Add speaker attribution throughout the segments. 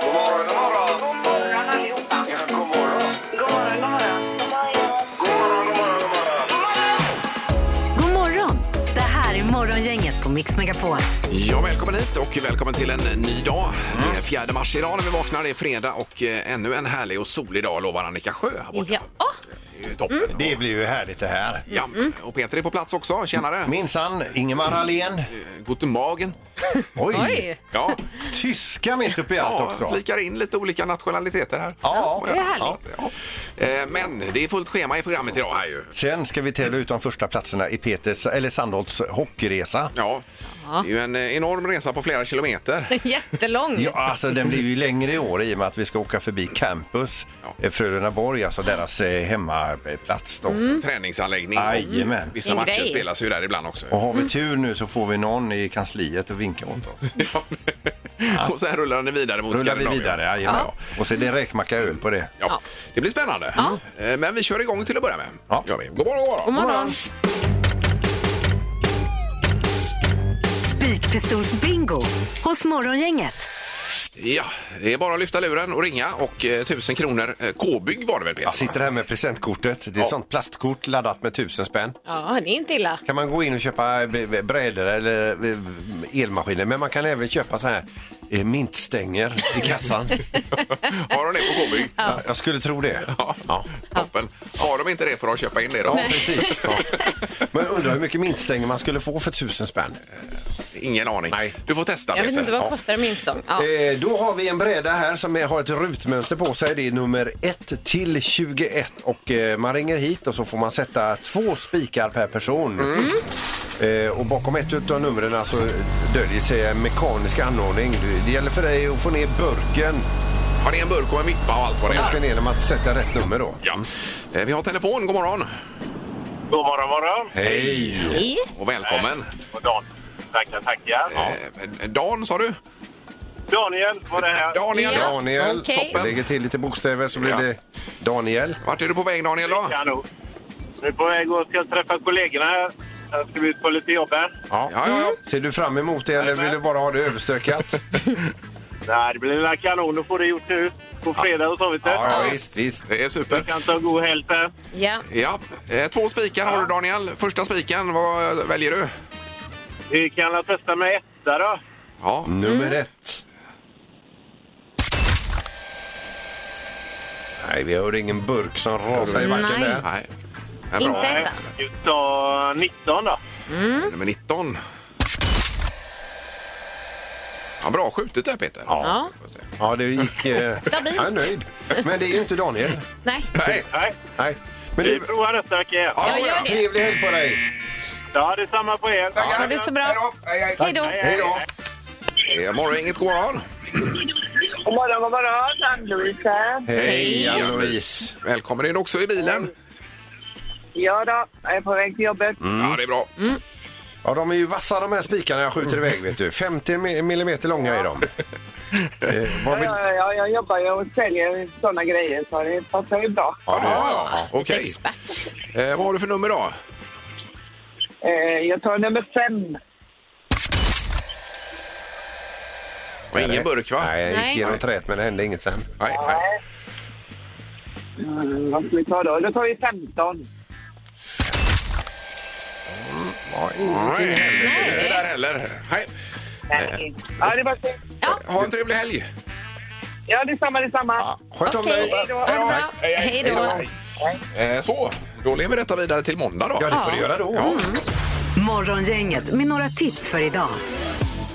Speaker 1: God morgon, god morgon.
Speaker 2: God morgon allihopa.
Speaker 1: Ja, god morgon.
Speaker 2: God morgon, god morgon.
Speaker 1: God morgon, god morgon, god morgon.
Speaker 3: God morgon! Det här är Morgongänget på Mix Megapol.
Speaker 4: Ja, välkommen hit och välkommen till en ny dag. Det är 4 mars idag när vi vaknar. Det är fredag och eh, ännu en härlig och solig dag lovar Annika Sjö här borta.
Speaker 3: Ja.
Speaker 4: Det är ju toppen.
Speaker 5: Mm. Det Mm. blir ju härligt det här.
Speaker 4: Ja, och Peter är på plats också. Tjenare!
Speaker 5: Mm. Minsann, Ingemar Ahlén.
Speaker 4: Eh, Guten Morgen!
Speaker 5: Oj,
Speaker 3: Oj!
Speaker 4: Ja,
Speaker 5: tyska mitt uppe i allt
Speaker 4: ja
Speaker 5: också.
Speaker 4: flikar in lite olika nationaliteter här.
Speaker 5: Ja,
Speaker 3: det är härligt.
Speaker 4: Ja. Eh, Men det är fullt schema i programmet idag här ju.
Speaker 5: Sen ska vi tävla ut de första platserna i Peters, eller Sandholts hockeyresa.
Speaker 4: Ja, det är ju en eh, enorm resa på flera kilometer.
Speaker 3: Jättelång.
Speaker 5: Ja, alltså den blir ju längre i år i och med att vi ska åka förbi campus,
Speaker 4: Ja.
Speaker 5: ja. Frölundaborg, alltså deras eh, hemmaplats då.
Speaker 4: Mm. Träningsanläggning.
Speaker 5: Jajamän.
Speaker 4: Vissa
Speaker 3: En
Speaker 4: matcher
Speaker 3: grej.
Speaker 4: spelas ju där ibland också.
Speaker 5: Och har vi tur nu så får vi någon i kansliet och vinka åt oss.
Speaker 4: Och sen rullar den vidare mot
Speaker 5: Rullar vi
Speaker 4: Skandinavien.
Speaker 5: vidare, jajamän. Och så är det räkmacka öl på det.
Speaker 4: Ja, det blir spännande. Eh, Men vi kör igång till att börja med.
Speaker 5: Ja.
Speaker 4: Gör vi. God morgon, god morgon.
Speaker 3: God morgon.
Speaker 6: Spikpistolsbingo hos Morgongänget.
Speaker 4: Ja, det är bara att lyfta luren och ringa och eh, 1000 kronor. Eh, K-bygg var det väl Peter?
Speaker 5: Jag sitter här med presentkortet. Det är
Speaker 4: Ja.
Speaker 5: ett sånt plastkort laddat med tusen spänn.
Speaker 2: Ja, det är inte illa.
Speaker 5: kan man gå in och köpa eh, b- b- brädor eller eh, elmaskiner. Men man kan även köpa så här eh, mintstänger i kassan.
Speaker 4: Har de det på K-bygg?
Speaker 5: Ja, Jag skulle tro det.
Speaker 4: Ja. Toppen. Har de inte det får de köpa in det då.
Speaker 5: Ja, precis. Ja. Men undrar hur mycket mintstänger man skulle få för tusen spänn.
Speaker 4: Ingen aning.
Speaker 5: Nej.
Speaker 4: Du får testa
Speaker 2: Jag vet
Speaker 4: Peter.
Speaker 2: inte vad
Speaker 4: Ja.
Speaker 2: kostar en minstång. Ja.
Speaker 5: Eh, Då har vi en bräda här som är, har ett rutmönster på sig. Det är nummer 1 till 21 och eh, man ringer hit och så får man sätta två spikar per person. Eh, Och bakom ett av numren så döljer sig en mekanisk anordning. Det gäller för dig att få ner burken
Speaker 4: Har ni en burk och en vippa och allt vad det
Speaker 5: Hjälper
Speaker 4: är?
Speaker 5: genom att sätta rätt nummer då.
Speaker 4: Ja. Eh, Vi har telefon. God morgon.
Speaker 7: God morgon, morgon.
Speaker 5: Hej!
Speaker 2: Hej.
Speaker 4: Och välkommen.
Speaker 7: Och Dan. Tackar, tackar.
Speaker 4: Eh, Dan sa du?
Speaker 7: Daniel var det här.
Speaker 4: Daniel.
Speaker 2: Ja.
Speaker 5: Daniel.
Speaker 2: Okej.
Speaker 5: Toppen. Lägger till lite bokstäver så blir
Speaker 4: Ja.
Speaker 5: det Daniel.
Speaker 4: Vart är du på väg Daniel då?
Speaker 7: Kanon. Nu är på väg och ska träffa kollegorna här. Jag ska ut på lite jobb här.
Speaker 5: Ja.
Speaker 4: Ja,
Speaker 2: Mm.
Speaker 4: ja, ja.
Speaker 5: Ser du fram emot det eller vill du bara ha det överstökat?
Speaker 7: Nej, det blir väl kanon att få det gjort nu. På fredag och så, vet du.
Speaker 5: Ja, ja visst, visst.
Speaker 4: Det är
Speaker 7: Vi
Speaker 4: super.
Speaker 7: kan ta en god helg sen.
Speaker 2: Ja.
Speaker 4: Ja, eh, två spikar har du Daniel. Första spiken, vad väljer du?
Speaker 7: Vi kan väl testa med etta då.
Speaker 4: Ja,
Speaker 5: Nummer
Speaker 2: Mm.
Speaker 5: ett. Nej, vi hör ingen burk som rasar i backen
Speaker 2: Nej.
Speaker 5: där.
Speaker 4: nej. En bra.
Speaker 2: Inte ettan.
Speaker 7: Vi tar 19 då.
Speaker 4: Nummer 19. Ja, bra skjutet där Peter.
Speaker 2: Ja.
Speaker 4: Får se.
Speaker 5: Ja, det gick... Eh,
Speaker 2: Stabilt.
Speaker 5: jag är nöjd. Men det är ju inte Daniel.
Speaker 2: Nej.
Speaker 4: Nej.
Speaker 7: Nej,
Speaker 5: Nej. Men
Speaker 7: vi
Speaker 5: du,
Speaker 7: provar nästa vecka igen.
Speaker 4: Ja,
Speaker 2: Jag gör det.
Speaker 5: trevlig helg på dig!
Speaker 7: Ja, det är samma på er.
Speaker 2: Ha det så
Speaker 4: Hej
Speaker 2: bra.
Speaker 4: då. Hej, hej.
Speaker 2: Hej då.
Speaker 5: Hej då!
Speaker 4: Det är morgon, inget god morgon.
Speaker 8: God morgon, god morgon. Ann-Louise här.
Speaker 5: Hej, Ann-Louise!
Speaker 4: Välkommen in också i bilen.
Speaker 8: Ja då, jag är på väg till jobbet.
Speaker 5: Mm.
Speaker 4: Ja, det är bra.
Speaker 5: Ja, de är ju vassa de här spikarna jag skjuter iväg vet du. 50 mi- millimeter långa är de. eh, vad
Speaker 8: Ja,
Speaker 5: vill...
Speaker 8: ja, ja, jag jobbar ju och säljer sådana grejer så det passar ju bra.
Speaker 4: Ja, ja, ja. Okej. Eh, vad har du för nummer då?
Speaker 8: Eh, jag tar nummer fem.
Speaker 4: Och ingen burk va?
Speaker 5: Nej, jag
Speaker 2: Nej.
Speaker 5: gick genom träet men det hände inget sen.
Speaker 4: Nej, nej.
Speaker 8: Mm, vad ska vi ta då? Då tar vi 15.
Speaker 5: Ja, ingenting
Speaker 4: Nej,
Speaker 5: hände.
Speaker 4: inte det där heller. Hej.
Speaker 8: Nej. Ja, det var synd.
Speaker 4: Ha en trevlig helg.
Speaker 8: Ja, detsamma, detsamma.
Speaker 5: Ja, Sköt om
Speaker 2: Okej.
Speaker 5: dig!
Speaker 8: Hej då.
Speaker 2: Ha det bra.
Speaker 4: Hej, hej.
Speaker 2: Hej då.
Speaker 4: Eh, så, då lever detta vidare till måndag då.
Speaker 5: Ja, det får du göra då. Mm.
Speaker 6: Morgongänget med några tips för idag.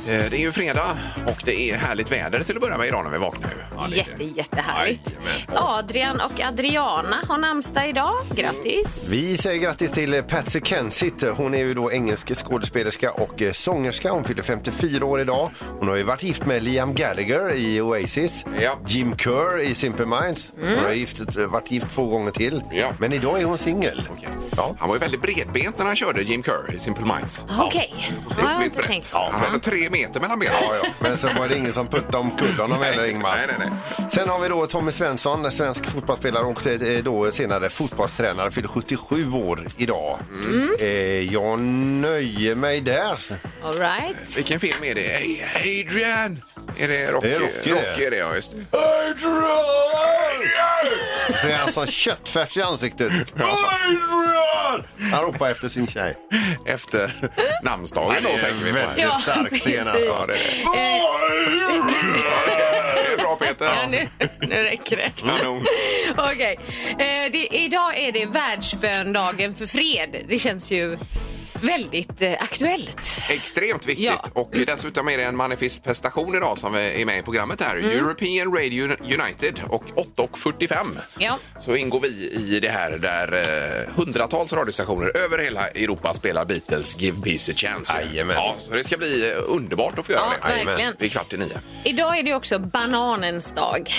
Speaker 4: Eh, Det är ju fredag och det är härligt väder till att börja med idag när vi vaknar. Ju.
Speaker 2: Jätte, jättehärligt.
Speaker 4: Jajamän.
Speaker 2: Adrian och Adriana har namnsdag idag. Grattis.
Speaker 5: Vi säger grattis till eh, Patsy Kensit. Hon är ju då engelsk skådespelerska och eh, sångerska. Hon fyller 54 år idag. Hon har ju varit gift med Liam Gallagher i Oasis,
Speaker 4: Ja.
Speaker 5: Jim Kerr i Simple Minds. Hon har gift, varit gift två gånger till.
Speaker 4: Ja.
Speaker 5: Men idag är hon singel.
Speaker 4: Okej.
Speaker 5: Ja.
Speaker 4: Han var ju väldigt bredbent när han körde Jim Kerr i Simple Minds.
Speaker 2: Okej. Ja, jag har
Speaker 4: Otroligt
Speaker 2: inte
Speaker 4: brett.
Speaker 2: tänkt.
Speaker 4: Han hade tre meter mellan benen.
Speaker 5: Ja, ja. Men sen var det ingen som puttade omkull honom heller, Ingmar.
Speaker 4: Nej, nej, nej.
Speaker 5: Sen har vi då Tommy Svensson, svensk fotbollsspelare och eh, då senare fotbollstränare, fyller 77 år idag.
Speaker 2: Mm.
Speaker 5: Eh, jag nöjer mig där.
Speaker 2: All right.
Speaker 4: Vilken film är det? Hey, Adrian! Är det Rocky?
Speaker 5: Det är Rocky,
Speaker 4: Rocky
Speaker 5: det.
Speaker 4: är det, ja. Just det.
Speaker 5: Så är han som köttfärs i ansiktet. Han ropar efter sin tjej.
Speaker 4: Efter namnsdagen då, tänker vi på. här.
Speaker 5: Det är
Speaker 2: Ja,
Speaker 5: stark scen
Speaker 2: precis.
Speaker 5: alltså.
Speaker 4: Ja, det är det. Det är bra,
Speaker 2: Ja,
Speaker 4: Peter.
Speaker 2: nu, nu räcker det.
Speaker 4: Kanon.
Speaker 2: Okej. Eh, det- idag är det världsböndagen för fred. Det känns ju väldigt eh, aktuellt.
Speaker 4: Extremt viktigt.
Speaker 2: Ja.
Speaker 4: Och dessutom är det en manifestation idag som är med i programmet här.
Speaker 2: Mm.
Speaker 4: European Radio United och 8.45
Speaker 2: Ja.
Speaker 4: så ingår vi i det här där eh, hundratals radiostationer över hela Europa spelar Beatles Give Peace a Chance.
Speaker 5: Jajamän.
Speaker 4: Ja, så det ska bli eh, underbart att få göra
Speaker 2: Ja,
Speaker 4: det.
Speaker 2: verkligen.
Speaker 4: Jajamän. Vid kvart i nio.
Speaker 2: Idag är det också bananens dag.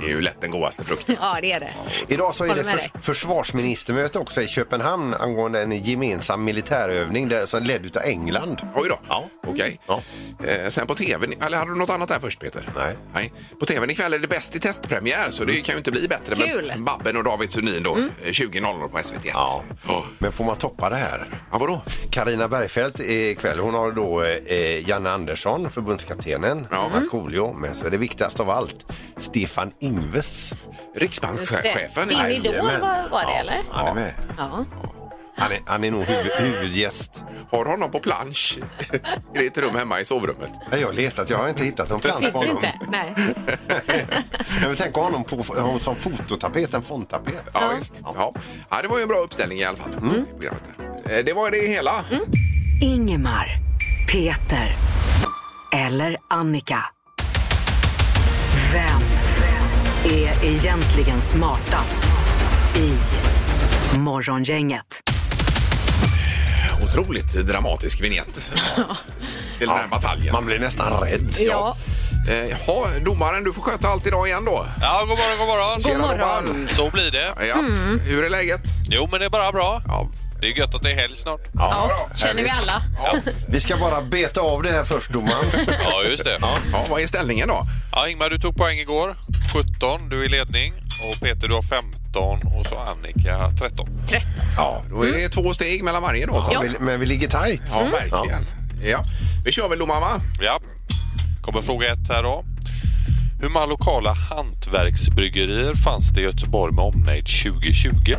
Speaker 4: Det är ju lätt den godaste frukten.
Speaker 2: Ja, det är det.
Speaker 5: Idag så är
Speaker 2: Håller
Speaker 5: det
Speaker 2: med dig.
Speaker 5: förs- försvarsministermöte också i Köpenhamn angående en gemensam militärövning där, som ledd utav England.
Speaker 4: Oj då. Ja. Okej.
Speaker 5: Ja.
Speaker 4: Eh, sen på tv, eller hade du något annat där först Peter?
Speaker 5: Nej. Mm.
Speaker 4: Nej. På tv ikväll är det Bäst i testpremiär så det kan ju inte bli bättre.
Speaker 2: Kul. Mm.
Speaker 4: Men Babben och David Sundin då, eh, 20.00 på SVT.
Speaker 5: Ja.
Speaker 4: Oh.
Speaker 5: Men får man toppa det här?
Speaker 4: Ja, vadå?
Speaker 5: Karina Bergfeldt är ikväll. Hon har då eh, Janne Andersson, förbundskaptenen, Mm.
Speaker 4: Ja.
Speaker 5: Markoolio, men så är det viktigast av allt Stefan Ingves.
Speaker 4: Riksbankschefen?
Speaker 2: Din idol
Speaker 5: Jajamän.
Speaker 2: var, var det, eller?
Speaker 5: Han är med.
Speaker 2: Ja.
Speaker 5: Han är, han är nog huvud, huvudgäst.
Speaker 4: Har honom på plansch i ditt rum hemma i sovrummet.
Speaker 5: Nej, Jag har letat, jag har inte hittat någon plats på
Speaker 2: Sitter
Speaker 5: honom.
Speaker 2: inte? Nej.
Speaker 5: Jag vill tänka honom på, honom som fototapet, en fondtapet.
Speaker 4: Ja, visst. Ja. Ja, det var ju en bra uppställning i alla fall.
Speaker 2: Mm.
Speaker 4: i programmet där. Eh, Det var det hela.
Speaker 6: Ingemar, Peter eller Annika. Vem är egentligen smartast i Morgongänget?
Speaker 4: Otroligt dramatisk vignett till den här bataljen.
Speaker 5: Man blir nästan rädd.
Speaker 2: Ja.
Speaker 4: Eh, Jaha, domaren, du får sköta allt idag igen då.
Speaker 9: Ja, god morgon, god morgon.
Speaker 2: God
Speaker 4: Tjena,
Speaker 2: morgon.
Speaker 4: domaren.
Speaker 9: Så blir det.
Speaker 4: Ja.
Speaker 2: Mm.
Speaker 4: Hur är läget?
Speaker 9: Jo, men det är bara bra.
Speaker 4: Ja.
Speaker 9: Det är gött att det är helg snart.
Speaker 2: Ja, känner vi alla.
Speaker 5: Vi ska bara beta av det här först, domaren.
Speaker 9: Ja, just det.
Speaker 4: Ja, vad är ställningen då?
Speaker 9: Ja, Ingmar, du tog poäng igår. 17, du är i ledning. Och Peter, du har 15 och så Annika 13.
Speaker 2: 13.
Speaker 4: Ja, då är det
Speaker 2: Mm.
Speaker 4: två steg mellan varje då. Så.
Speaker 5: Men vi- Men vi ligger tajt.
Speaker 4: Ja, verkligen. Ja. Vi kör väl domaren va?
Speaker 9: Ja. Kommer fråga ett här då. Hur många lokala hantverksbryggerier fanns det i Göteborg med omnejd 2020?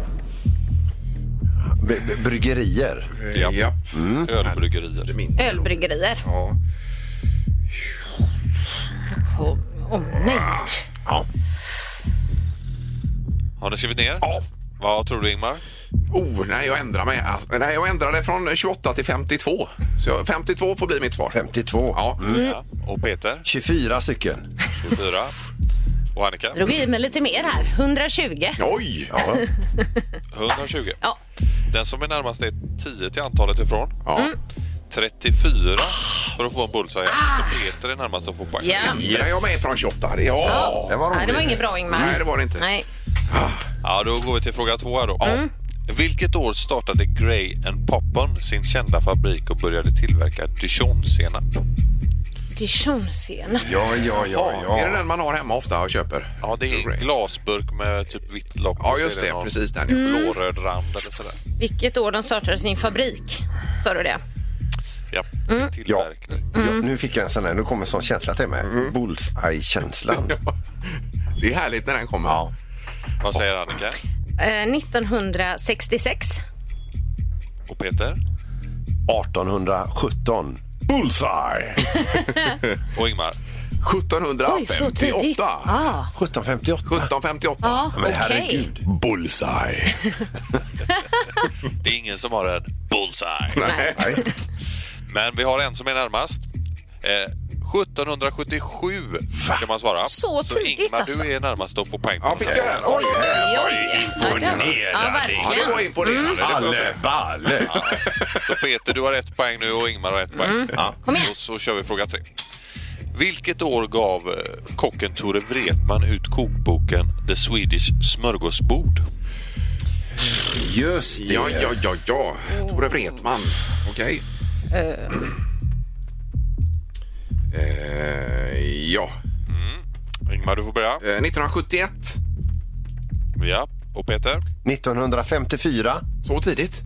Speaker 5: B- b- bryggerier.
Speaker 9: Ja.
Speaker 4: Ja.
Speaker 2: Mm.
Speaker 4: Mm.
Speaker 9: Ölbryggerier.
Speaker 2: Ölbryggerier.
Speaker 4: Ja.
Speaker 2: Åh åh, nej.
Speaker 5: Ja.
Speaker 9: Har ni skrivit ner?
Speaker 4: Ja.
Speaker 9: Vad tror du Ingmar?
Speaker 4: Oh, nej, jag ändrar mig. Alltså, nej, jag ändrade från 28 till 52. Så jag- 52 får bli mitt svar.
Speaker 5: 52.
Speaker 4: Ja.
Speaker 2: Mm.
Speaker 9: Ja. Och Peter?
Speaker 5: 24 stycken.
Speaker 9: 24. Och Annika?
Speaker 2: Drog i mig lite mer här. 120.
Speaker 4: Oj! Ja.
Speaker 9: 120.
Speaker 2: Ja.
Speaker 9: Den som är närmast är 10 till antalet ifrån.
Speaker 4: Ja.
Speaker 2: Mm.
Speaker 9: 34 för att få en bullseye. Så Peter är närmast att få poäng.
Speaker 2: Ah. Ja.
Speaker 4: Där är jag med från 28. Det- Ja.
Speaker 5: Det var
Speaker 2: Nej, det var
Speaker 5: roligt.
Speaker 2: inget bra Ingmar.
Speaker 4: Nej, det var det inte.
Speaker 2: Nej.
Speaker 9: Ja, då går vi till fråga två här då.
Speaker 2: Mm.
Speaker 9: Vilket år startade Grey and Poppen sin kända fabrik och började tillverka dijonsenap?
Speaker 2: Dijonsenap.
Speaker 5: Ja, ja, ja,
Speaker 4: Ja, Är det
Speaker 5: ja.
Speaker 4: den man har hemma ofta och köper?
Speaker 9: Ja, det är en glasburk med typ vitt lock.
Speaker 4: Ja, just
Speaker 9: Så är
Speaker 4: det.
Speaker 9: någon
Speaker 4: Precis den. ja.
Speaker 9: Blåröd rand eller sådär.
Speaker 2: Vilket år de startade sin fabrik? Sa du det?
Speaker 9: Ja,
Speaker 2: Mm.
Speaker 5: Ja.
Speaker 9: tillverkning.
Speaker 5: Ja, Nu fick jag en sån här, nu kommer en sån känsla till mig. Bullseye-känslan.
Speaker 4: Det är härligt när den kommer. Ja.
Speaker 9: Vad säger Annika?
Speaker 2: Eh, 1966.
Speaker 9: Och Peter?
Speaker 5: 1817. Bullseye!
Speaker 9: Och Ingmar?
Speaker 4: 1758.
Speaker 2: Ah,
Speaker 5: 1758.
Speaker 4: 1758.
Speaker 2: ja,
Speaker 5: Men
Speaker 2: okej.
Speaker 5: herregud.
Speaker 4: Bullseye.
Speaker 9: Det är ingen som har en bullseye.
Speaker 4: Nej.
Speaker 9: Men vi har en som är närmast. Eh, 1777 kan man svara.
Speaker 2: Så tidigt
Speaker 9: Ingmar,
Speaker 2: alltså.
Speaker 9: du är närmast att få poäng.
Speaker 4: Ja, fick jag den? Oj,
Speaker 2: Oj, Ja,
Speaker 4: Ja, det var
Speaker 2: verkligen.
Speaker 4: imponerande. Det får jag säga.
Speaker 5: balle!
Speaker 9: Så Peter, du har ett poäng nu och Ingmar har ett poäng.
Speaker 2: Mm. Kom igen.
Speaker 9: Och så kör vi fråga tre. Vilket år gav eh, kocken Tore Wretman ut kokboken The Swedish smörgåsbord?
Speaker 5: Just det.
Speaker 4: Ja, ja, ja, ja. Tore Wretman. Okej. Eh, ja.
Speaker 9: Ingmar, du får börja.
Speaker 4: Eh, 1971. Eh.
Speaker 9: Ja. Och Peter?
Speaker 5: 1954.
Speaker 4: Så tidigt?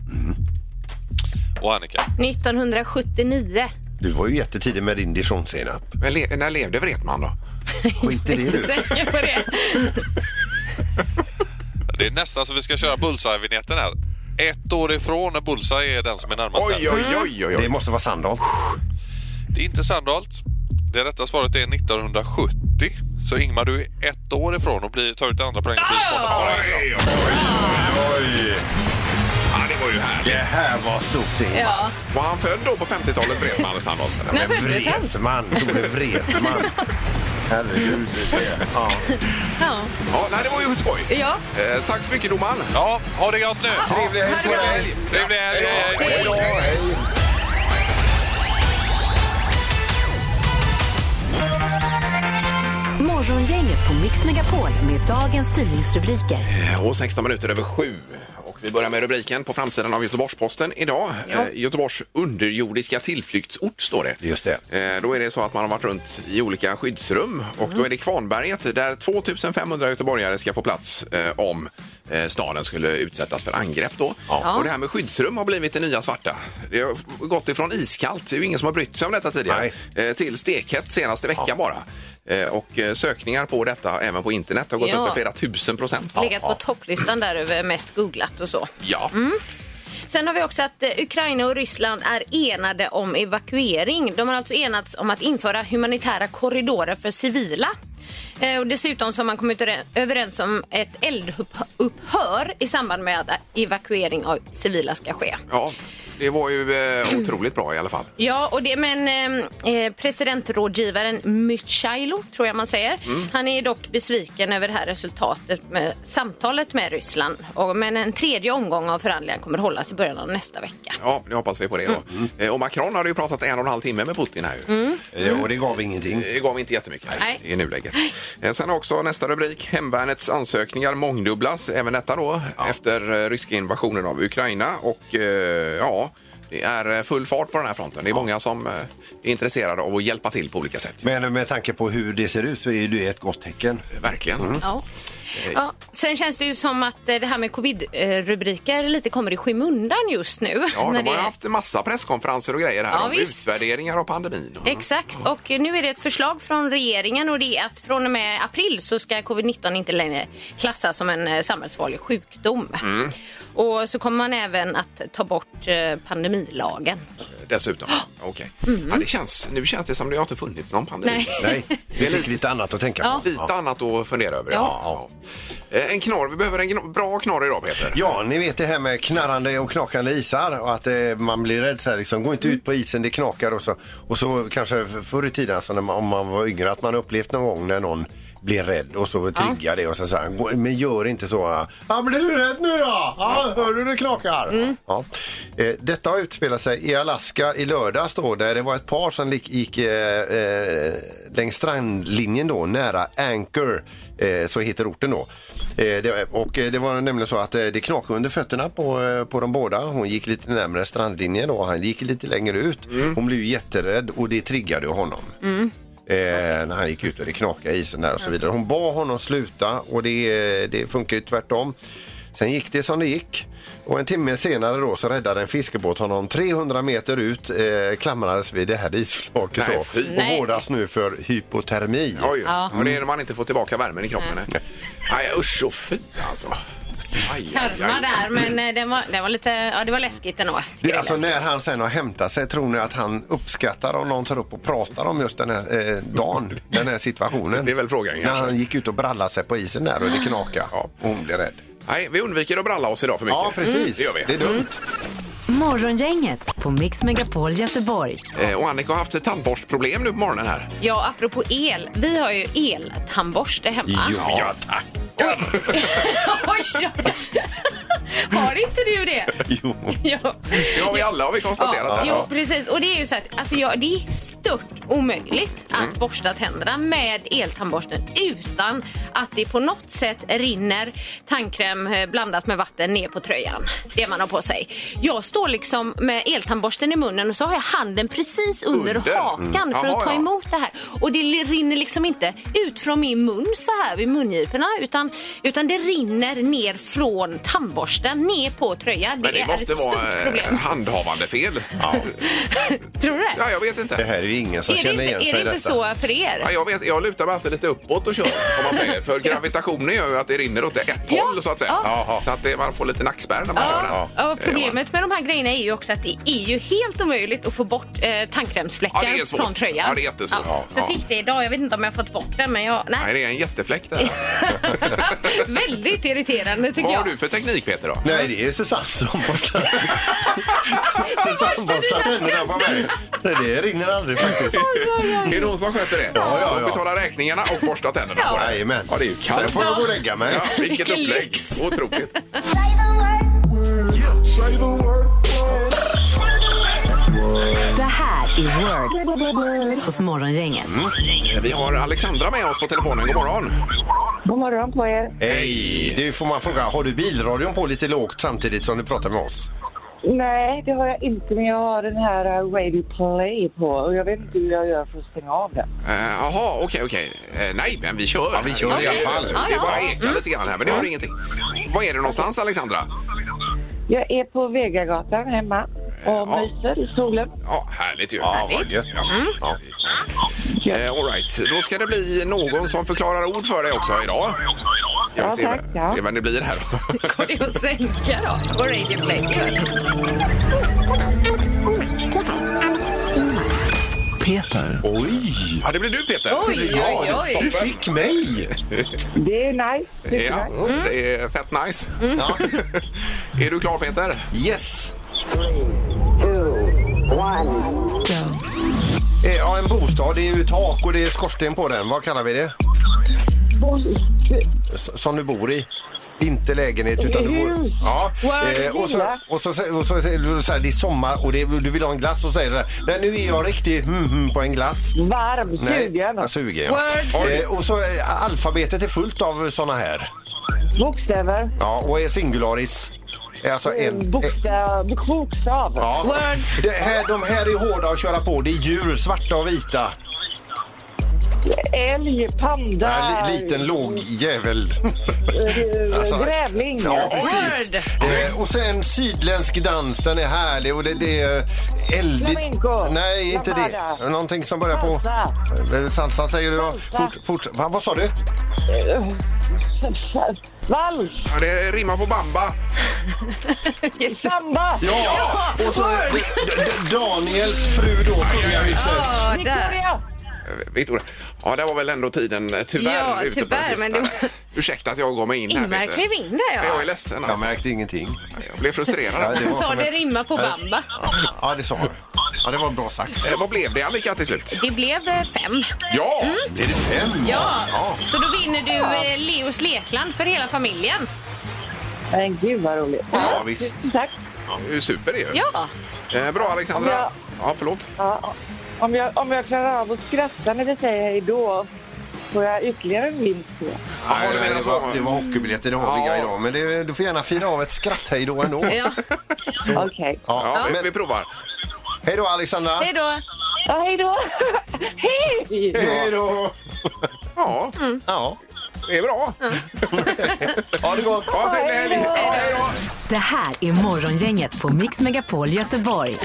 Speaker 9: Och Annika?
Speaker 2: 1979.
Speaker 5: Du var ju jättetidig med din dijonsenap.
Speaker 4: Men le, när levde Wretman då?
Speaker 5: Skit i det
Speaker 2: Inte
Speaker 5: nu.
Speaker 2: säker på det.
Speaker 9: Det är nästan så vi ska köra Bullseye-vinjetten här. Ett år ifrån när Bullseye är den som är närmast.
Speaker 4: Oj,
Speaker 9: här.
Speaker 4: oj, oj, oj.
Speaker 5: Det
Speaker 4: oj.
Speaker 5: måste vara Sandholt.
Speaker 9: Det är inte Sandholt. Det rätta svaret är 1970. Så Ingmar, du är ett år ifrån och blir, tar ut det andra poängen. och blir borta på poäng.
Speaker 4: Oj, oj, oj. Ja, det var ju härligt.
Speaker 5: Det här var stort det.
Speaker 2: Ja.
Speaker 4: Var han född då på 50-talet, Wretman och Sandholt?
Speaker 2: När föddes han?
Speaker 5: Vretman, Tore Vretman. Herregud. Ja.
Speaker 2: Ja.
Speaker 4: Ja, nej, det var ju skoj.
Speaker 2: ja.
Speaker 4: Eh, tack så mycket, domaren.
Speaker 9: Ja, ha det gott nu!
Speaker 5: Trevlig helg,
Speaker 2: ha det
Speaker 5: trevlig
Speaker 2: bra.
Speaker 5: helg.
Speaker 9: Trevlig helg! Hej, hej.
Speaker 2: Hej.
Speaker 3: Morgongänget på Mix Megapol med dagens tidningsrubriker.
Speaker 4: Eh, Och 16 minuter över sju. Och vi börjar med rubriken på framsidan av Göteborgs-Posten idag. Eh, Göteborgs underjordiska tillflyktsort står det.
Speaker 5: Just det.
Speaker 4: Eh, Då är det så att man har varit runt i olika skyddsrum och
Speaker 2: Mm.
Speaker 4: då är det Kvarnberget där 2500 göteborgare ska få plats eh, om eh, staden skulle utsättas för angrepp då. Och det här med skyddsrum har blivit det nya svarta. Det har f- gått ifrån iskallt, det är ju ingen som har brytt sig om detta tidigare, eh, till stekhett senaste veckan bara. Eh, Och eh, sökningar på detta även på internet har gått
Speaker 2: Ja.
Speaker 4: upp med flera tusen procent.
Speaker 2: Legat på Mm. topplistan där över mest googlat och så.
Speaker 4: Ja.
Speaker 2: Sen har vi också att eh, Ukraina och Ryssland är enade om evakuering. De har alltså enats om att införa humanitära korridorer för civila. Eh, Och dessutom så har man kommit öre- överens om ett eldupphör i samband med att evakuering av civila ska ske.
Speaker 4: ja, det var ju eh, otroligt bra i alla fall.
Speaker 2: Ja, och det, men eh, eh, presidentrådgivaren Mychailo, tror jag man säger,
Speaker 4: Mm.
Speaker 2: han är dock besviken över det här resultatet med samtalet med Ryssland. Och, men en tredje omgång av förhandlingar kommer hållas i början av nästa vecka.
Speaker 4: Ja, det hoppas vi på det då.
Speaker 2: Mm.
Speaker 4: Eh, Och Macron hade ju pratat en och en halv timme med Putin här ju.
Speaker 5: Eh, Och det gav ingenting.
Speaker 4: Det gav inte jättemycket
Speaker 2: Nej.
Speaker 4: i nuläget. Eh, Sen också nästa rubrik. Hemvärnets ansökningar mångdubblas, även detta då, efter eh, ryska invasionen av Ukraina. Och eh, ja, det är eh, full fart på den här fronten. Det är många som eh, är intresserade av att hjälpa till på olika sätt. ju.
Speaker 5: Men med tanke på hur det ser ut så är det ett gott tecken.
Speaker 4: Verkligen.
Speaker 2: Ja. Ja, sen känns det ju som att eh, det här med covid-rubriker lite kommer i skymundan just nu.
Speaker 4: Ja,
Speaker 2: När
Speaker 4: de
Speaker 2: det-
Speaker 4: har ju haft massa presskonferenser och grejer här
Speaker 2: Ja,
Speaker 4: om
Speaker 2: visst.
Speaker 4: utvärderingar av pandemin.
Speaker 2: Exakt, och nu är det ett förslag från regeringen och det är att från och med april så ska covid-19 inte längre klassas som en eh, samhällsfarlig sjukdom. Och så kommer man även att ta bort eh, pandemilagen.
Speaker 4: eh, Dessutom. Okej. Ja, det känns, nu känns det som det har inte funnits någon pandemi.
Speaker 2: Mm. Nej.
Speaker 5: Nej, vi fick lite annat att tänka på.
Speaker 2: Ja.
Speaker 4: Lite annat att fundera över.
Speaker 5: Ja.
Speaker 4: Ja. Eh, En knorr. Vi behöver en gno- bra knorr idag, Peter.
Speaker 5: Ja, ni vet det här med knarrande och knakande isar och att eh, man blir rädd så här liksom. Gå inte ut på isen, det knakar och så. Och så kanske förr i tiden, alltså, när man, om man var yngre, att man upplevt någon gång när någon blir rädd och så triggar det och så säger han, "Gå- men gör inte så. Ja, ah, blir du rädd nu då? Ja, hör du det knakar? Ja. Eh, Detta har utspelat sig eh, i Alaska i lördags då, där det var ett par som gick, gick eh, eh, längs strandlinjen då, nära Anchor, eh, så heter orten då. Eh, det, och eh, det var nämligen så att eh, det knakade under fötterna på, eh, på de båda. Hon gick lite närmare strandlinjen då, han gick lite längre ut. Hon blev ju jätterädd och det triggade honom. Eh, när han gick ut och det knakade i isen där och så vidare. Hon bad honom sluta och det, eh, det funkar ju tvärtom. Sen gick det som det gick. Och en timme senare då så räddade en fiskebåt honom 300 meter ut, eh, klamrades vid det här isflaket
Speaker 4: Nej,
Speaker 5: då.
Speaker 4: fy.
Speaker 5: Och vårdas nu för hypotermi.
Speaker 4: Oj, ja. och det är när man inte får tillbaka värmen i kroppen. Nej, Nej usch och fy alltså. Aj, aj, aj.
Speaker 2: Karma där, men eh, den var, den var lite, ja det var läskigt ändå.
Speaker 5: Det, alltså när han sen har hämtat sig, tror ni att han uppskattar om någon tar upp och pratar om just den här eh, dagen, den här situationen?
Speaker 4: Det är väl frågan,
Speaker 5: När
Speaker 4: kanske.
Speaker 5: han gick ut och brallade sig på isen där och det knakade och hon blev rädd.
Speaker 4: Nej, vi undviker att bralla oss idag för mycket. Mm,
Speaker 5: Ja, precis.
Speaker 4: Det gör vi.
Speaker 5: Det är dumt.
Speaker 3: Morgongänget på Mix Megapol Göteborg.
Speaker 4: Eh, Och Annika har haft ett tandborstproblem nu på morgonen här.
Speaker 2: Ja, apropå el. Vi har ju eltandborste hemma.
Speaker 4: Ja, tack.
Speaker 2: oj, oj, oj. Har inte du det?
Speaker 5: Jo.
Speaker 2: Ja.
Speaker 4: Det har vi alla har vi konstaterat.
Speaker 2: Ja,
Speaker 4: här.
Speaker 2: jo, precis. Och det är ju så att alltså, jag, det är stört omöjligt att
Speaker 4: Mm.
Speaker 2: borsta tänderna med eltandborsten utan att det på något sätt rinner tandkräm eh, blandat med vatten ner på tröjan. Det man har på sig. Jag står liksom med eltandborsten i munnen och så har jag handen precis under,
Speaker 4: Under?
Speaker 2: hakan
Speaker 4: Mm.
Speaker 2: för
Speaker 4: Jaha,
Speaker 2: att ta
Speaker 4: ja.
Speaker 2: emot det här. Och det li- rinner liksom inte ut från min mun så här vid mungiporna utan, utan det rinner ner från borsten ner på tröja. Det,
Speaker 4: Men det
Speaker 2: är
Speaker 4: måste
Speaker 2: ett
Speaker 4: vara
Speaker 2: stort
Speaker 4: eh,
Speaker 2: problem.
Speaker 4: handhavande fel.
Speaker 2: Tror du det?
Speaker 4: Ja, jag vet
Speaker 5: Det
Speaker 4: inte.
Speaker 5: här är ju ingen som
Speaker 2: är det
Speaker 5: känner
Speaker 2: inte,
Speaker 5: igen sig
Speaker 2: är
Speaker 5: i
Speaker 2: det inte
Speaker 5: detta.
Speaker 2: så för er?
Speaker 4: Ja, jag, vet, jag lutar mig alltid lite uppåt och kör, om man säger. För gravitationen gör ju att det rinner åt ett
Speaker 2: Ja.
Speaker 4: håll, så att säga.
Speaker 5: Ja.
Speaker 4: Så att det, man får lite nackspärr när man kör den.
Speaker 2: Ja, ja, problemet med de här grejerna är ju också att det är ju helt omöjligt att få bort eh,
Speaker 4: Ja,
Speaker 2: tandkrämsfläckar
Speaker 4: det är svårt.
Speaker 2: från tröjan.
Speaker 4: Ja, det är jättesvårt. Ja,
Speaker 2: Så
Speaker 4: ja.
Speaker 2: fick det idag. Jag vet inte om jag har fått bort den, men jag...
Speaker 4: Eh, Nej,
Speaker 2: Nej.
Speaker 4: det är en jättefläck där.
Speaker 2: Väldigt irriterande tycker
Speaker 4: Vad har
Speaker 2: jag.
Speaker 4: du för teknik, Peter? Då?
Speaker 5: Nej, det är Susanne som borstar.
Speaker 2: borstar
Speaker 5: Susanne borstar
Speaker 2: dina
Speaker 5: tänderna på mig. Nej, det rinner aldrig faktiskt.
Speaker 4: Det är det hon som sköter det?
Speaker 5: Ja, ja,
Speaker 4: som
Speaker 5: ja.
Speaker 4: betalar räkningarna och borstar tänderna på dig?
Speaker 5: Jajamän.
Speaker 4: Ja, det är ju
Speaker 5: Sen
Speaker 4: kallt.
Speaker 5: får jag gå och lägga mig.
Speaker 4: Ja, vilket
Speaker 2: Vilken
Speaker 4: upplägg!
Speaker 2: lyx.
Speaker 4: Otroligt.
Speaker 6: Det här är Word hos Morgongänget.
Speaker 4: Eh, Vi har Alexandra med oss på telefonen. God morgon!
Speaker 8: God morgon på er.
Speaker 5: Hej! Du får man fråga, har du bilradion på lite lågt samtidigt som du pratar med oss?
Speaker 8: Nej, det har jag inte, men jag har den här eh, Radio Play på och jag vet inte hur jag gör för att stänga av den.
Speaker 4: Eh, Jaha, okej, okej. Eh, nej, men vi kör. Ja,
Speaker 5: vi kör i alla fall.
Speaker 4: Det
Speaker 2: Ja, ja.
Speaker 4: bara ekar lite grann här, men det gör ingenting. Var är du någonstans, Alexandra?
Speaker 8: Jag är på Vegagatan hemma och
Speaker 4: Ja.
Speaker 8: myser i solen.
Speaker 4: Ja, härligt ju.
Speaker 5: Ja, vad
Speaker 2: Härligt.
Speaker 5: gött. Mm. Ja.
Speaker 4: Eh, all right. Då ska det bli någon som förklarar ord för dig också idag. Jag
Speaker 8: Ja,
Speaker 4: ser,
Speaker 8: tack, ja.
Speaker 4: ser vem det blir här.
Speaker 2: Går det att sänka då? Och Radio Play gör.
Speaker 5: Oj!
Speaker 4: ja, det blir du, Peter.
Speaker 2: Oj, oj,
Speaker 5: Du
Speaker 2: oj.
Speaker 5: fick mig!
Speaker 8: Det är nice. Det är
Speaker 4: Ja,
Speaker 8: nice.
Speaker 2: Mm.
Speaker 4: det är fett nice. är du klar, Peter?
Speaker 5: Yes! Eh, Ja, en bostad. Det är ju tak och det är skorsten på den. Vad kallar vi det? S- Som du bor i. Inte lägenhet utan du bor...
Speaker 8: Hus.
Speaker 5: Ja.
Speaker 8: Wow,
Speaker 5: Eh, och så,
Speaker 8: villa.
Speaker 5: och så, sä- och så, säger du så här, det är sommar och det, är- du vill ha en glass och säger du så här, nej nu är jag riktigt mm, mm, på en glass.
Speaker 8: Varm,
Speaker 5: Nej, Alltså-
Speaker 8: sugen.
Speaker 5: jag suger, ja.
Speaker 2: Word.
Speaker 5: Eh, och så eh, alfabetet är fullt av såna här.
Speaker 8: Bokstäver.
Speaker 5: Ja, och är singularis. Eh, Alltså en... eh,
Speaker 8: Bokstav. Bokstav.
Speaker 5: Ja.
Speaker 2: Word.
Speaker 5: Det här, de här är hårda att köra på. Det är djur, svarta och vita.
Speaker 8: Älg, panda.
Speaker 5: Ja, li, liten låg jävel.
Speaker 8: eh,
Speaker 5: alltså-
Speaker 8: grävling.
Speaker 5: Ja,
Speaker 2: Word.
Speaker 5: precis. Eh, och sen sydländsk dans, den är härlig och det, det är eldigt.
Speaker 8: Flamenco.
Speaker 5: Nej, inte det.
Speaker 8: Lambada.
Speaker 5: Någonting som börjar på...
Speaker 8: Salsa.
Speaker 5: Eh, Salsa säger du, ja.
Speaker 8: Salsa.
Speaker 5: Fort, fort. Va, vad sa du?
Speaker 8: Eh, Vals.
Speaker 4: Ja, det rimmar på bamba.
Speaker 8: Samba.
Speaker 5: Ja! Och så eh, D- D- Daniels fru då, kungahuset.
Speaker 2: Ja, där.
Speaker 8: Victoria.
Speaker 4: Eh, Victoria. Ja, där var väl ändå tiden eh, tyvärr
Speaker 2: Ja,
Speaker 4: ute på
Speaker 2: tyvärr,
Speaker 4: den sista.
Speaker 2: men det-
Speaker 4: Ursäkta att jag går mig in här.
Speaker 2: Ingmar
Speaker 4: Peter.
Speaker 2: klev in där, ja.
Speaker 4: Jag är ledsen.
Speaker 5: Jag
Speaker 4: Alltså.
Speaker 5: märkte ingenting.
Speaker 4: Jag blev frustrerad.
Speaker 5: det var
Speaker 2: Han sa
Speaker 5: som
Speaker 2: det
Speaker 5: ett-
Speaker 2: rimmar
Speaker 4: Äh.
Speaker 2: på bamba.
Speaker 5: Ja, det sa du. Ja, det var bra sagt.
Speaker 4: Eh, Vad blev det, Annika, till slut?
Speaker 2: Det blev eh, fem.
Speaker 4: Ja!
Speaker 5: Blir det fem?
Speaker 2: Ja, så då vinner du eh, Leos lekland för hela familjen.
Speaker 8: Men gud vad roligt.
Speaker 5: Ja, visst.
Speaker 8: Tack.
Speaker 4: Det är ju Super det är ju.
Speaker 2: Ja,
Speaker 4: Eh, Bra, Alexandra.
Speaker 8: Ja.
Speaker 4: Ja, förlåt.
Speaker 8: Ja, om, jag, om jag klarar av att skratta när vi säger hej då får jag ytterligare en vinst. tror jag.
Speaker 4: Ja, du menar
Speaker 5: det,
Speaker 4: så.
Speaker 5: var, det var hockeybiljetter, det har vi
Speaker 4: Ja.
Speaker 5: idag. Men det, du får gärna fira av ett skratt hej då ändå.
Speaker 2: ja.
Speaker 8: Okej.
Speaker 4: Ja,
Speaker 5: Ja,
Speaker 4: vi,
Speaker 5: men,
Speaker 4: vi provar.
Speaker 5: hej då Alexandra!
Speaker 2: hej då.
Speaker 8: Ja, hej då! hej!
Speaker 5: Hej då!
Speaker 4: Ja,
Speaker 2: Mm.
Speaker 5: Ja,
Speaker 4: det är bra.
Speaker 5: ha det gott!
Speaker 4: Ja, trevlig helg. Ja, hej då.
Speaker 6: Det här är Morgongänget på Mix Megapol Göteborg.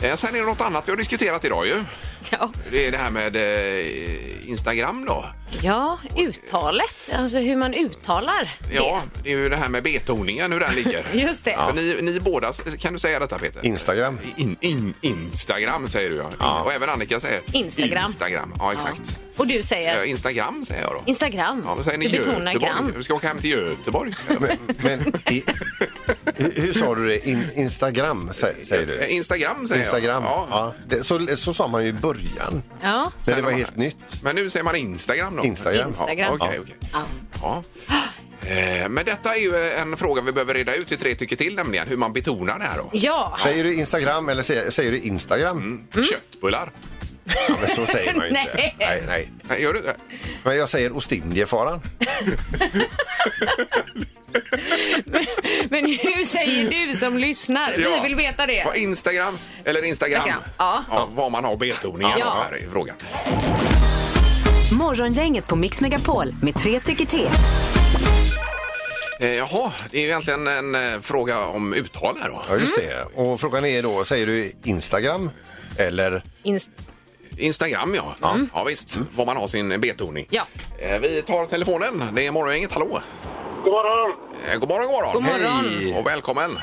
Speaker 4: Eh, Sen är det något annat vi har diskuterat idag ju.
Speaker 2: Ja.
Speaker 4: Det är det här med eh, Instagram då.
Speaker 2: ja, uttalet, alltså hur man uttalar det.
Speaker 4: Ja, det är ju det här med betoningen, hur den ligger.
Speaker 2: Just det.
Speaker 4: För Ni, ni båda, kan du säga detta Peter?
Speaker 5: Instagram.
Speaker 4: In, in, Instagram säger du ja. Och även Annika säger
Speaker 2: Instagram.
Speaker 4: Instagram. Ja, exakt.
Speaker 2: Och du
Speaker 4: Eh,
Speaker 2: säger
Speaker 4: Instagram säger jag då.
Speaker 2: Instagram.
Speaker 4: Ja, men säger ni
Speaker 2: du betonar
Speaker 4: Göteborg?
Speaker 2: gram.
Speaker 4: Vi ska åka hem till Göteborg.
Speaker 5: Men, men i, hur, hur sa du det? In, Instagram sä- säger
Speaker 4: Eh,
Speaker 5: du?
Speaker 4: Instagram säger
Speaker 5: Instagram.
Speaker 4: jag. Ja.
Speaker 5: Ja. Det, så, så sa man ju i början,
Speaker 2: Ja.
Speaker 5: när det var helt nytt.
Speaker 4: Men nu säger man Instagram då?
Speaker 5: Instagram.
Speaker 2: Instagram.
Speaker 4: Ja, okej, okej.
Speaker 2: Ja.
Speaker 4: Ja. Eh, Men detta är ju en fråga vi behöver reda ut i tre tycker till nämligen, hur man betonar det här då.
Speaker 2: Ja. Mm.
Speaker 5: Säger du Instagram eller säger, säger du Instagram?
Speaker 4: Mm. Köttbullar.
Speaker 5: Ja, men så säger man ju inte.
Speaker 2: Nej.
Speaker 5: nej, nej.
Speaker 4: Nej, Gör du det?
Speaker 5: Men jag säger Ostindiefararen.
Speaker 2: Men hur säger du som lyssnar?
Speaker 4: Ja.
Speaker 2: Vi vill veta det.
Speaker 4: Vad, Instagram eller Instagram?
Speaker 2: Instagram, ja.
Speaker 4: Vad man har betoningen
Speaker 2: Ja.
Speaker 4: ja. här är frågan.
Speaker 6: Morgongänget på Mix Megapol med tre tycker till.
Speaker 4: Eh, jaha, det är ju egentligen en eh, fråga om uttal här då.
Speaker 5: Ja, just det.
Speaker 2: Mm.
Speaker 5: Och frågan är då, säger du Instagram eller? Mm.
Speaker 2: Inst-
Speaker 4: Instagram ja. Mm. Ja visst, var man har sin betoning.
Speaker 2: Ja.
Speaker 4: Eh, vi tar telefonen. Det är morgongänget, hallå.
Speaker 7: God morgon!
Speaker 4: Eh, god morgon, god morgon.
Speaker 2: God morgon.
Speaker 5: Hej.
Speaker 4: Och välkommen.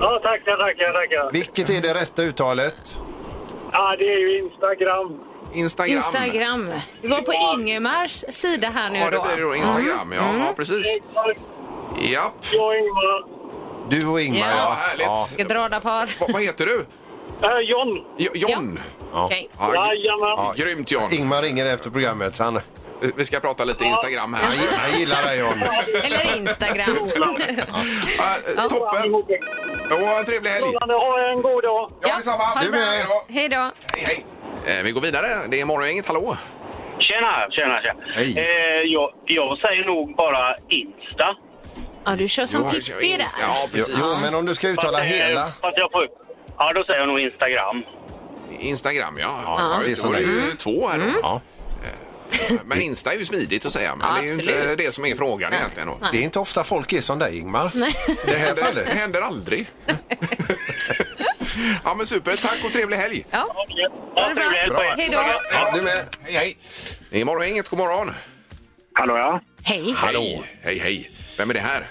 Speaker 7: Ja, tackar, tackar, tackar.
Speaker 5: Vilket är det rätta uttalet?
Speaker 7: Ja, det är ju Instagram.
Speaker 4: Instagram.
Speaker 2: Instagram. Vi var på Ingemars sida här nu
Speaker 4: Ja, det
Speaker 2: då. Mm.
Speaker 4: blir det då Instagram. Ja, ja, precis.
Speaker 7: Exakt,
Speaker 4: Japp.
Speaker 7: jag och Ingmar.
Speaker 5: Du och Ingmar,
Speaker 2: Ja.
Speaker 4: Ja,
Speaker 5: ja.
Speaker 4: härligt.
Speaker 2: Ska dra där par.
Speaker 4: Va, vad heter du?
Speaker 7: Äh, John!
Speaker 4: Jo- John?
Speaker 2: Okej.
Speaker 4: Ja. g-
Speaker 7: Jajamän!
Speaker 4: ja, Grymt John.
Speaker 5: Ingmar ringer efter programmet. Han,
Speaker 4: Vi- Vi ska prata lite Instagram här.
Speaker 5: han gillar dig, John.
Speaker 2: Eller Instagram.
Speaker 4: Ja, eh, toppen. Och en trevlig helg.
Speaker 7: Ha en god dag!
Speaker 4: Ja, detsamma.
Speaker 2: ha det
Speaker 4: Du med.
Speaker 2: bra. Hej då.
Speaker 4: Hej, hej. Eh, Vi går vidare. Det är morgongänget, hallå.
Speaker 7: Tjena, tjena, tjena.
Speaker 5: Hej.
Speaker 7: Eh, jag, jag säger nog bara Insta.
Speaker 2: Ja, du kör som Pippi där.
Speaker 4: Ja,
Speaker 5: Jo,
Speaker 4: precis.
Speaker 5: jo, men om du ska uttala
Speaker 7: Fast, eh,
Speaker 5: hela.
Speaker 7: Fast jag får, ja, då säger jag nog Instagram.
Speaker 4: Instagram, ja. ja,
Speaker 5: det är
Speaker 4: just det
Speaker 5: som
Speaker 4: Då är det
Speaker 5: det
Speaker 4: ju två här då.
Speaker 5: Ja.
Speaker 4: Men Insta är ju smidigt att säga, men
Speaker 2: Ja,
Speaker 4: det är ju inte
Speaker 2: absolut.
Speaker 4: det som är frågan egentligen. Då.
Speaker 5: Det är inte ofta folk är som dig, Ingmar. I det här
Speaker 4: Det, det
Speaker 5: fallet.
Speaker 4: händer aldrig. ja, men super. Tack och trevlig helg.
Speaker 2: Ja,
Speaker 7: Ja,
Speaker 2: det bra.
Speaker 7: trevlig helg på
Speaker 2: Bra.
Speaker 7: er.
Speaker 2: Hej då.
Speaker 5: Ja, du med.
Speaker 4: Hej, hej. Det är morgongänget. God morgon.
Speaker 7: Hallå, ja.
Speaker 2: Hej.
Speaker 4: Hallå. Hej, hej. Vem är det här?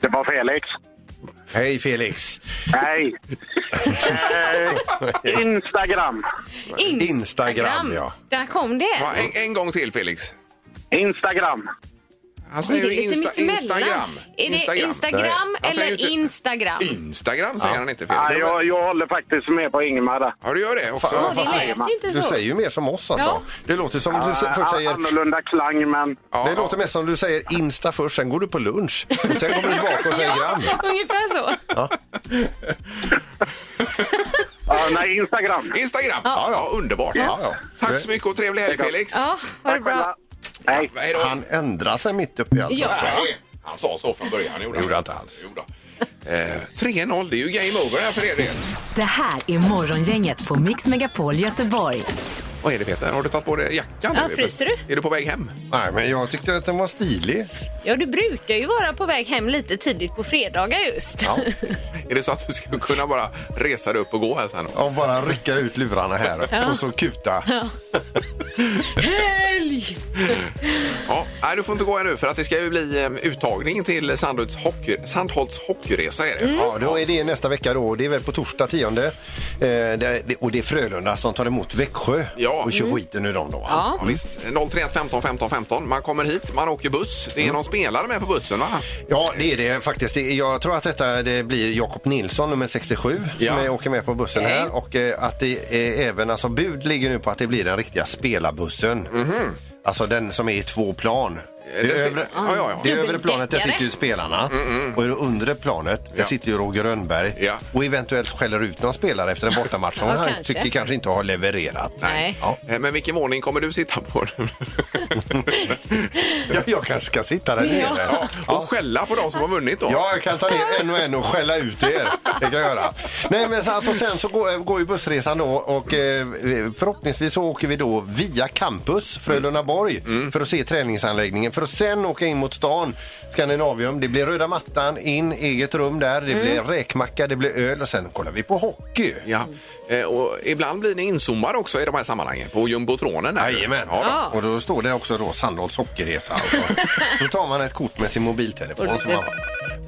Speaker 7: Det var Felix.
Speaker 5: Hej, Felix.
Speaker 7: Nej. eh, Instagram.
Speaker 2: Instagram.
Speaker 5: Instagram, ja.
Speaker 2: Där kom det.
Speaker 4: Ja, en, en gång till, Felix.
Speaker 7: Instagram.
Speaker 4: Han
Speaker 2: Det
Speaker 4: säger
Speaker 2: är
Speaker 4: ju
Speaker 2: lite
Speaker 4: Insta,
Speaker 2: mittemellan.
Speaker 4: Instagram.
Speaker 2: Är det Instagram
Speaker 4: Nej. Han säger
Speaker 2: eller
Speaker 4: ju inte-
Speaker 2: Instagram?
Speaker 4: Instagram säger han inte,
Speaker 7: Ja,
Speaker 4: Felix.
Speaker 7: jag, jag håller faktiskt med på Ingemar där.
Speaker 4: Ja, du gör det också?
Speaker 5: Fan,
Speaker 2: Åh,
Speaker 5: fast-
Speaker 2: det lät inte
Speaker 5: Du
Speaker 2: så.
Speaker 5: säger ju mer som oss alltså.
Speaker 2: Ja.
Speaker 5: Det låter som du se- Alltså, först
Speaker 7: Ah,
Speaker 5: säger...
Speaker 7: Annorlunda klang, men...
Speaker 4: Ja,
Speaker 5: Det låter mest som du säger Insta först, sen går du på lunch. Och sen kommer du tillbaka och säger gram.
Speaker 2: Ungefär så.
Speaker 7: Ja, nej, Instagram.
Speaker 4: Instagram. Ja, ja, underbart.
Speaker 5: Ja, ja.
Speaker 4: Tack så mycket och trevlig helg, Felix.
Speaker 2: Ja, ha det bra.
Speaker 7: själva. Hej.
Speaker 4: Hej då.
Speaker 5: Han ändrar sig mitt upp i allt.
Speaker 2: Ja.
Speaker 4: Nej, han sa så från början. Gjorde
Speaker 5: Det gjorde han inte alls.
Speaker 4: Jo då. Eh, 3-0, det är ju game over här för er del.
Speaker 6: Det här är Morgongänget på Mix Megapol Göteborg.
Speaker 4: Vad är det Peter? Har du tagit på dig jackan?
Speaker 2: Ja, fryser du?
Speaker 4: Är du på väg hem?
Speaker 5: Nej, men jag tyckte att den var stilig.
Speaker 2: Ja, du brukar ju vara på väg hem lite tidigt på fredagar just.
Speaker 4: Är det så att du ska kunna bara resa dig upp och gå här sen?
Speaker 5: Och bara rycka ut lurarna här
Speaker 2: Ja.
Speaker 5: och så kuta.
Speaker 2: Helg!
Speaker 4: Ja, nej, du får inte gå ännu för att det ska ju bli eh, uttagning till Sandholts, hockey, Sandholts hockeyresa. Är det.
Speaker 2: Mm.
Speaker 5: Ja, då är det nästa vecka då. Det är väl på torsdag 10. Eh, det, det- och det är Frölunda som tar emot Växjö
Speaker 4: Ja. Mm.
Speaker 5: och kör skiten ur dem då. va?
Speaker 2: Ja.
Speaker 4: Ja, visst. 031 15 15 15. Man kommer hit, man åker buss.
Speaker 2: Mm.
Speaker 4: Det är någon spelare med på bussen, va?
Speaker 5: Ja, det är det faktiskt. Det- Jag tror att detta det blir Jakob Nilsson, nummer 67,
Speaker 4: Ja.
Speaker 5: som är, åker med på bussen
Speaker 2: Okej.
Speaker 5: här. Och eh, att det är även, alltså bud ligger nu på att det blir den riktiga spelarbussen.
Speaker 4: Mhm.
Speaker 5: Alltså den som är i två plan. Det,
Speaker 4: det-
Speaker 5: övre,
Speaker 4: ja, ja, ja. Mm,
Speaker 5: det övre planet där
Speaker 2: Dubbeldäckare.
Speaker 5: sitter ju spelarna och i det undre planet där
Speaker 4: Ja.
Speaker 5: sitter ju Roger Rönnberg
Speaker 4: Ja.
Speaker 5: och eventuellt skäller ut någon spelare efter en bortamatch som
Speaker 2: Ja,
Speaker 5: han
Speaker 2: kanske.
Speaker 5: tycker kanske inte har levererat.
Speaker 2: Nej.
Speaker 5: Ja.
Speaker 4: Eh, Men vilken våning kommer du sitta på?
Speaker 5: Ja, jag kanske ska sitta där nere. Ja.
Speaker 4: Och skälla på de som har vunnit då?
Speaker 5: Ja, jag kan ta ner en och en och skälla ut er. Det kan jag göra. Nej, men så- alltså, sen så går, går ju bussresan då och eh, förhoppningsvis så åker vi då via campus Frölundaborg för att se träningsanläggningen för att sen åka in mot stan Skandinavium. Det blir röda mattan, in, eget rum där, det blir räkmacka, det blir öl och sen kollar vi på hockey.
Speaker 4: Ja, eh, och ibland blir ni inzoomade också i de här sammanhangen, på jumbotronen. här.
Speaker 5: Jajamän.
Speaker 4: Ja, då.
Speaker 5: Och då står det också då Sandholts hockeyresa. och så- Så tar man ett kort med sin mobiltelefon. Som man har.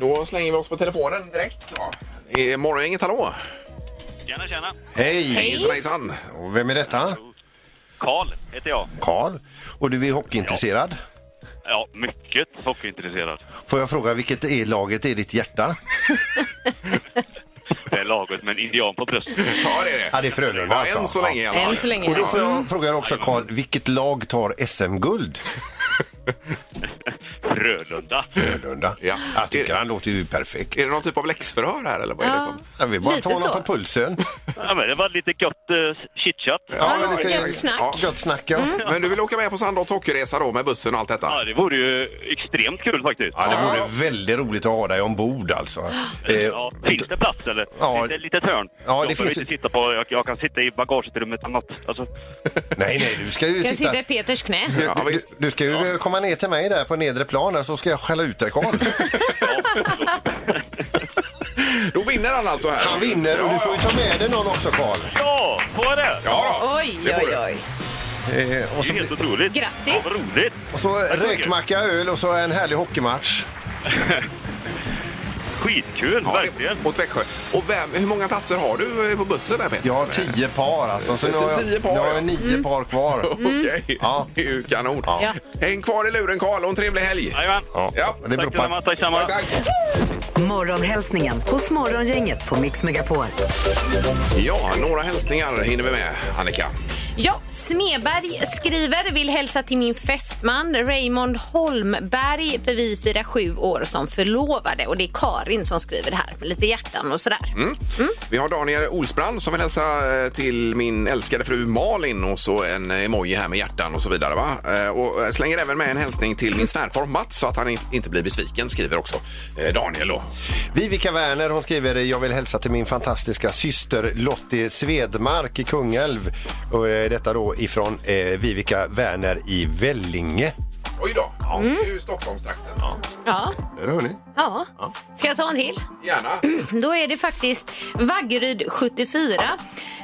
Speaker 4: då slänger vi oss på telefonen direkt. Ja. Eh, Morgongänget, hallå!
Speaker 7: Tjena, tjena.
Speaker 5: Hej!
Speaker 4: Hejsan, hejsan!
Speaker 5: Och vem är detta?
Speaker 7: Karl heter jag.
Speaker 5: Karl. Och du är hockeyintresserad?
Speaker 7: Ja, mycket hockeyintresserad.
Speaker 5: Får jag fråga vilket är laget i ditt hjärta?
Speaker 7: Det är laget med en indian på bröstet.
Speaker 4: Ja, det är det.
Speaker 5: Ja, det är Frölunda
Speaker 4: Ja,
Speaker 5: alltså.
Speaker 4: än så länge i alla fall.
Speaker 2: Än så länge.
Speaker 5: Och då
Speaker 2: ja.
Speaker 5: får jag fråga också Karl, vilket lag tar SM-guld?
Speaker 7: Frölunda.
Speaker 5: Frölunda.
Speaker 4: Ja.
Speaker 5: Jag tycker han låter ju perfekt.
Speaker 4: Är det någon typ av läxförhör här eller vad är det
Speaker 2: Ja.
Speaker 4: som...
Speaker 5: Jag vill bara
Speaker 2: Lite
Speaker 5: ta honom
Speaker 2: så.
Speaker 5: på pulsen.
Speaker 7: Ja, men det var lite gött uh, chitchat.
Speaker 2: Ja, det var gött snack. Mm.
Speaker 5: Gott snack ja.
Speaker 4: Men du vill åka med på Sandholt hockeyresa då med bussen och allt detta?
Speaker 7: Ja, det vore ju extremt kul faktiskt.
Speaker 5: Ja, det vore väldigt roligt att ha dig ombord alltså. Eh,
Speaker 7: Ja, finns det plats eller?
Speaker 5: Ja,
Speaker 7: finns det ett litet hörn?
Speaker 5: Ja, det
Speaker 7: jag
Speaker 5: finns
Speaker 7: behöver inte sitta på, jag, jag kan sitta i bagagerummet eller något. Alltså,
Speaker 5: nej, nej, du ska ju
Speaker 2: Jag
Speaker 5: sitta...
Speaker 2: sitter i Peters knä.
Speaker 5: Du,
Speaker 4: Ja,
Speaker 5: du,
Speaker 4: visst.
Speaker 5: du ska ju komma ner till mig där på nedre plan här så ska jag skälla ut dig, Karl.
Speaker 4: Då vinner han alltså här.
Speaker 5: Han vinner och du får ju ta med dig någon också, Karl.
Speaker 10: Ja, så är det.
Speaker 4: Ja, då.
Speaker 2: Oj,
Speaker 4: Det får
Speaker 2: oj,
Speaker 4: du.
Speaker 2: oj.
Speaker 5: Eh, och,
Speaker 10: Det
Speaker 5: så,
Speaker 10: är helt otroligt.
Speaker 2: Grattis.
Speaker 10: Ja, vad roligt.
Speaker 5: och så räkmacka, öl och så en härlig hockeymatch.
Speaker 10: Skitkul,
Speaker 4: Ja, det-
Speaker 10: verkligen.
Speaker 4: Mot Växjö. Och vem, hur många platser har du eh, på bussen där Peter?
Speaker 5: Jag har tio par alltså. Så nu har jag,
Speaker 4: Tio par,
Speaker 5: nu har
Speaker 4: ja. Mm.
Speaker 5: jag nio par kvar.
Speaker 4: Okej,
Speaker 5: Ja.
Speaker 4: det är ju kanon.
Speaker 2: Ja.
Speaker 4: Häng kvar i luren Karl och en trevlig helg.
Speaker 10: Jajamän.
Speaker 4: Ja,
Speaker 5: Det beror
Speaker 10: Tack
Speaker 5: på
Speaker 10: detsamma,
Speaker 5: att,
Speaker 10: tack detsamma.
Speaker 4: Tack.
Speaker 6: Morgonhälsningen hos Morgongänget på Mix Megapol.
Speaker 4: Ja, några hälsningar hinner vi med, Annika.
Speaker 2: Ja, Smeberg skriver, vill hälsa till min fästman Raymond Holmberg för vi firar sju år som förlovade och det är Karin som skriver det här med lite hjärtan och sådär.
Speaker 5: Mm.
Speaker 4: Vi har Daniel Olsbrand som vill hälsa eh, till min älskade fru Malin och så en eh, emoji här med hjärtan och så vidare. Va? Eh, Och eh, slänger även med en hälsning till min svärfar Mats så att han in- inte blir besviken, skriver också eh, Daniel. Då.
Speaker 5: Vivica Werner hon skriver jag vill hälsa till min fantastiska syster Lottie Svedmark i Kungälv. Och eh, detta då ifrån eh, Vivica Werner i Vellinge.
Speaker 4: Oj då, ja,
Speaker 5: Mm.
Speaker 4: det är ju Stockholmstrakten. Ja.
Speaker 2: Ja,
Speaker 5: Där hör ni.
Speaker 2: ja. Ska jag ta en till?
Speaker 4: Gärna.
Speaker 2: Då är det faktiskt Vaggeryd 74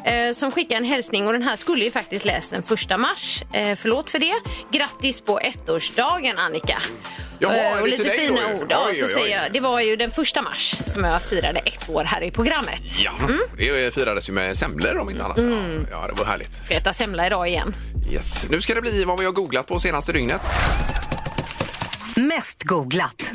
Speaker 2: eh, som skickar en hälsning och den här skulle ju faktiskt läst den första mars. Eh, förlåt för det. Grattis på ettårsdagen Annika.
Speaker 4: Jaha,
Speaker 2: Eh,
Speaker 4: är det
Speaker 2: och
Speaker 4: till
Speaker 2: lite
Speaker 4: dig
Speaker 2: fina
Speaker 4: då ju?
Speaker 2: ord. Ja,
Speaker 4: Oj,
Speaker 2: så
Speaker 4: oj, oj.
Speaker 2: säger jag, det var ju den första mars som jag firade ett år här i programmet.
Speaker 4: Ja, det firades ju med semlor om inte annat.
Speaker 2: Mm.
Speaker 4: Ja, det var härligt.
Speaker 2: Ska äta semla idag igen.
Speaker 4: Yes. Nu ska det bli vad vi har googlat på senaste dygnet.
Speaker 6: Mest googlat.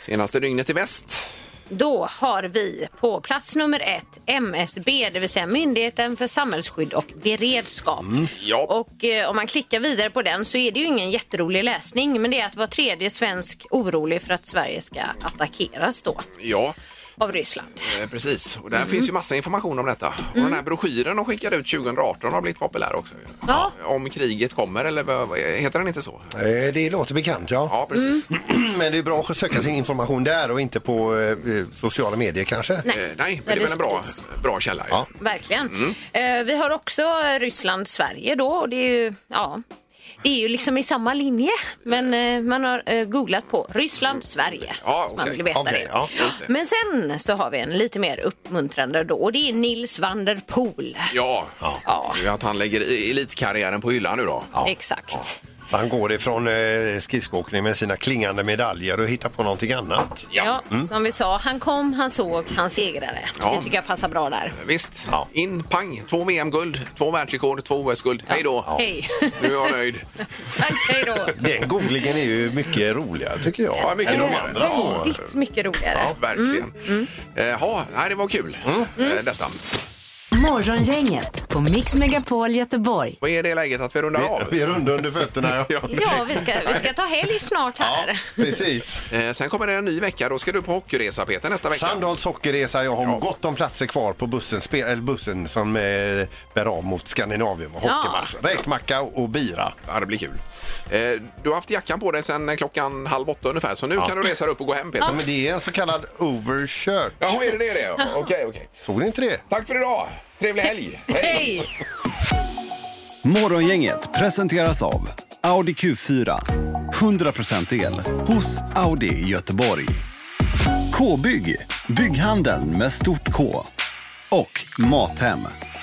Speaker 4: Senaste dygnet i väst.
Speaker 2: Då har vi på plats nummer ett MSB, det vill säga Myndigheten för samhällsskydd och beredskap.
Speaker 4: Ja.
Speaker 2: Och eh, om man klickar vidare på den så är det ju ingen jätterolig läsning, men det är att var tredje svensk orolig för att Sverige ska attackeras då
Speaker 4: Ja,
Speaker 2: av Ryssland.
Speaker 4: eh, precis. Och där
Speaker 2: Mm.
Speaker 4: finns ju massa information om detta. Och den här broschyren de skickade ut 2018 har blivit populär också.
Speaker 2: Ja.
Speaker 4: Om kriget kommer, eller vad- vad- heter den inte så?
Speaker 5: Eh, det låter bekant ja.
Speaker 4: Ja, precis.
Speaker 2: Mm.
Speaker 5: Men det är bra att söka sin information där och inte på eh, eh, sociala medier kanske.
Speaker 2: Nej,
Speaker 4: Eh,
Speaker 2: där
Speaker 4: Nej, men det är väl en bra,
Speaker 2: sprids.
Speaker 4: bra källa. ju.
Speaker 5: Ja.
Speaker 2: Verkligen.
Speaker 4: Mm.
Speaker 2: Eh, Vi har också Ryssland-Sverige då och det är ju, ja, det är ju liksom i samma linje. Men eh, man har eh, googlat på Ryssland-Sverige.
Speaker 4: Ja,
Speaker 2: Man
Speaker 4: okej.
Speaker 2: vill veta
Speaker 5: Okej,
Speaker 2: det.
Speaker 5: ja,
Speaker 4: just det.
Speaker 2: Men sen så har vi en lite mer uppmuntrande då och det är Nils van der Poel.
Speaker 4: Ja,
Speaker 2: Ja.
Speaker 4: Det är ju att han lägger i- elitkarriären på hyllan nu då.
Speaker 2: Exakt.
Speaker 5: Han går ifrån eh, skridskoåkning med sina klingande medaljer och hittar på någonting annat.
Speaker 2: Ja, som vi sa, han kom, han såg, han segrade.
Speaker 4: Mm. Ja.
Speaker 2: Det tycker jag passar bra där.
Speaker 4: Visst,
Speaker 5: Ja.
Speaker 4: in pang, två VM-guld, två världsrekord, två OS-guld. Hej då!
Speaker 2: Hej.
Speaker 4: Nu är jag nöjd.
Speaker 2: Tack, hej då.
Speaker 5: Den googlingen är ju mycket roligare tycker jag.
Speaker 4: Ja, mycket
Speaker 5: än de
Speaker 4: roligare.
Speaker 5: andra.
Speaker 2: Väldigt mycket roligare.
Speaker 4: Ja, verkligen. Eh, Ja, nej, det var kul eh, detta.
Speaker 6: Morgongänget på Mix Megapol Göteborg.
Speaker 4: Vad är det läget att vi rundar av?
Speaker 5: Vi är runda under fötterna. ja.
Speaker 2: Ja, vi ska, vi ska ta helg snart här.
Speaker 5: Precis.
Speaker 4: Eh, Sen kommer det en ny vecka. Då ska du på hockeyresa Peter nästa vecka.
Speaker 5: Sandholt sockerresa. Jag har gott om platser kvar på bussen, spe- eller bussen som eh, bär av mot Skandinavien. och Hockeymatch. Räkmacka och bira.
Speaker 4: Ja, det blir kul. Eh, Du har haft jackan på dig sedan klockan halv åtta ungefär, så nu kan du resa dig upp och gå hem Peter.
Speaker 5: Men det är en så kallad overshirt.
Speaker 4: Jaha, är det det det? Okej, okej.
Speaker 5: Såg ni inte det?
Speaker 4: Tack för idag! Trevlig helg!
Speaker 2: Hej!
Speaker 11: Morgongänget presenteras av Audi Q4. 100% el hos Audi i Göteborg. K-bygg, bygghandeln med stort K. Och Mathem,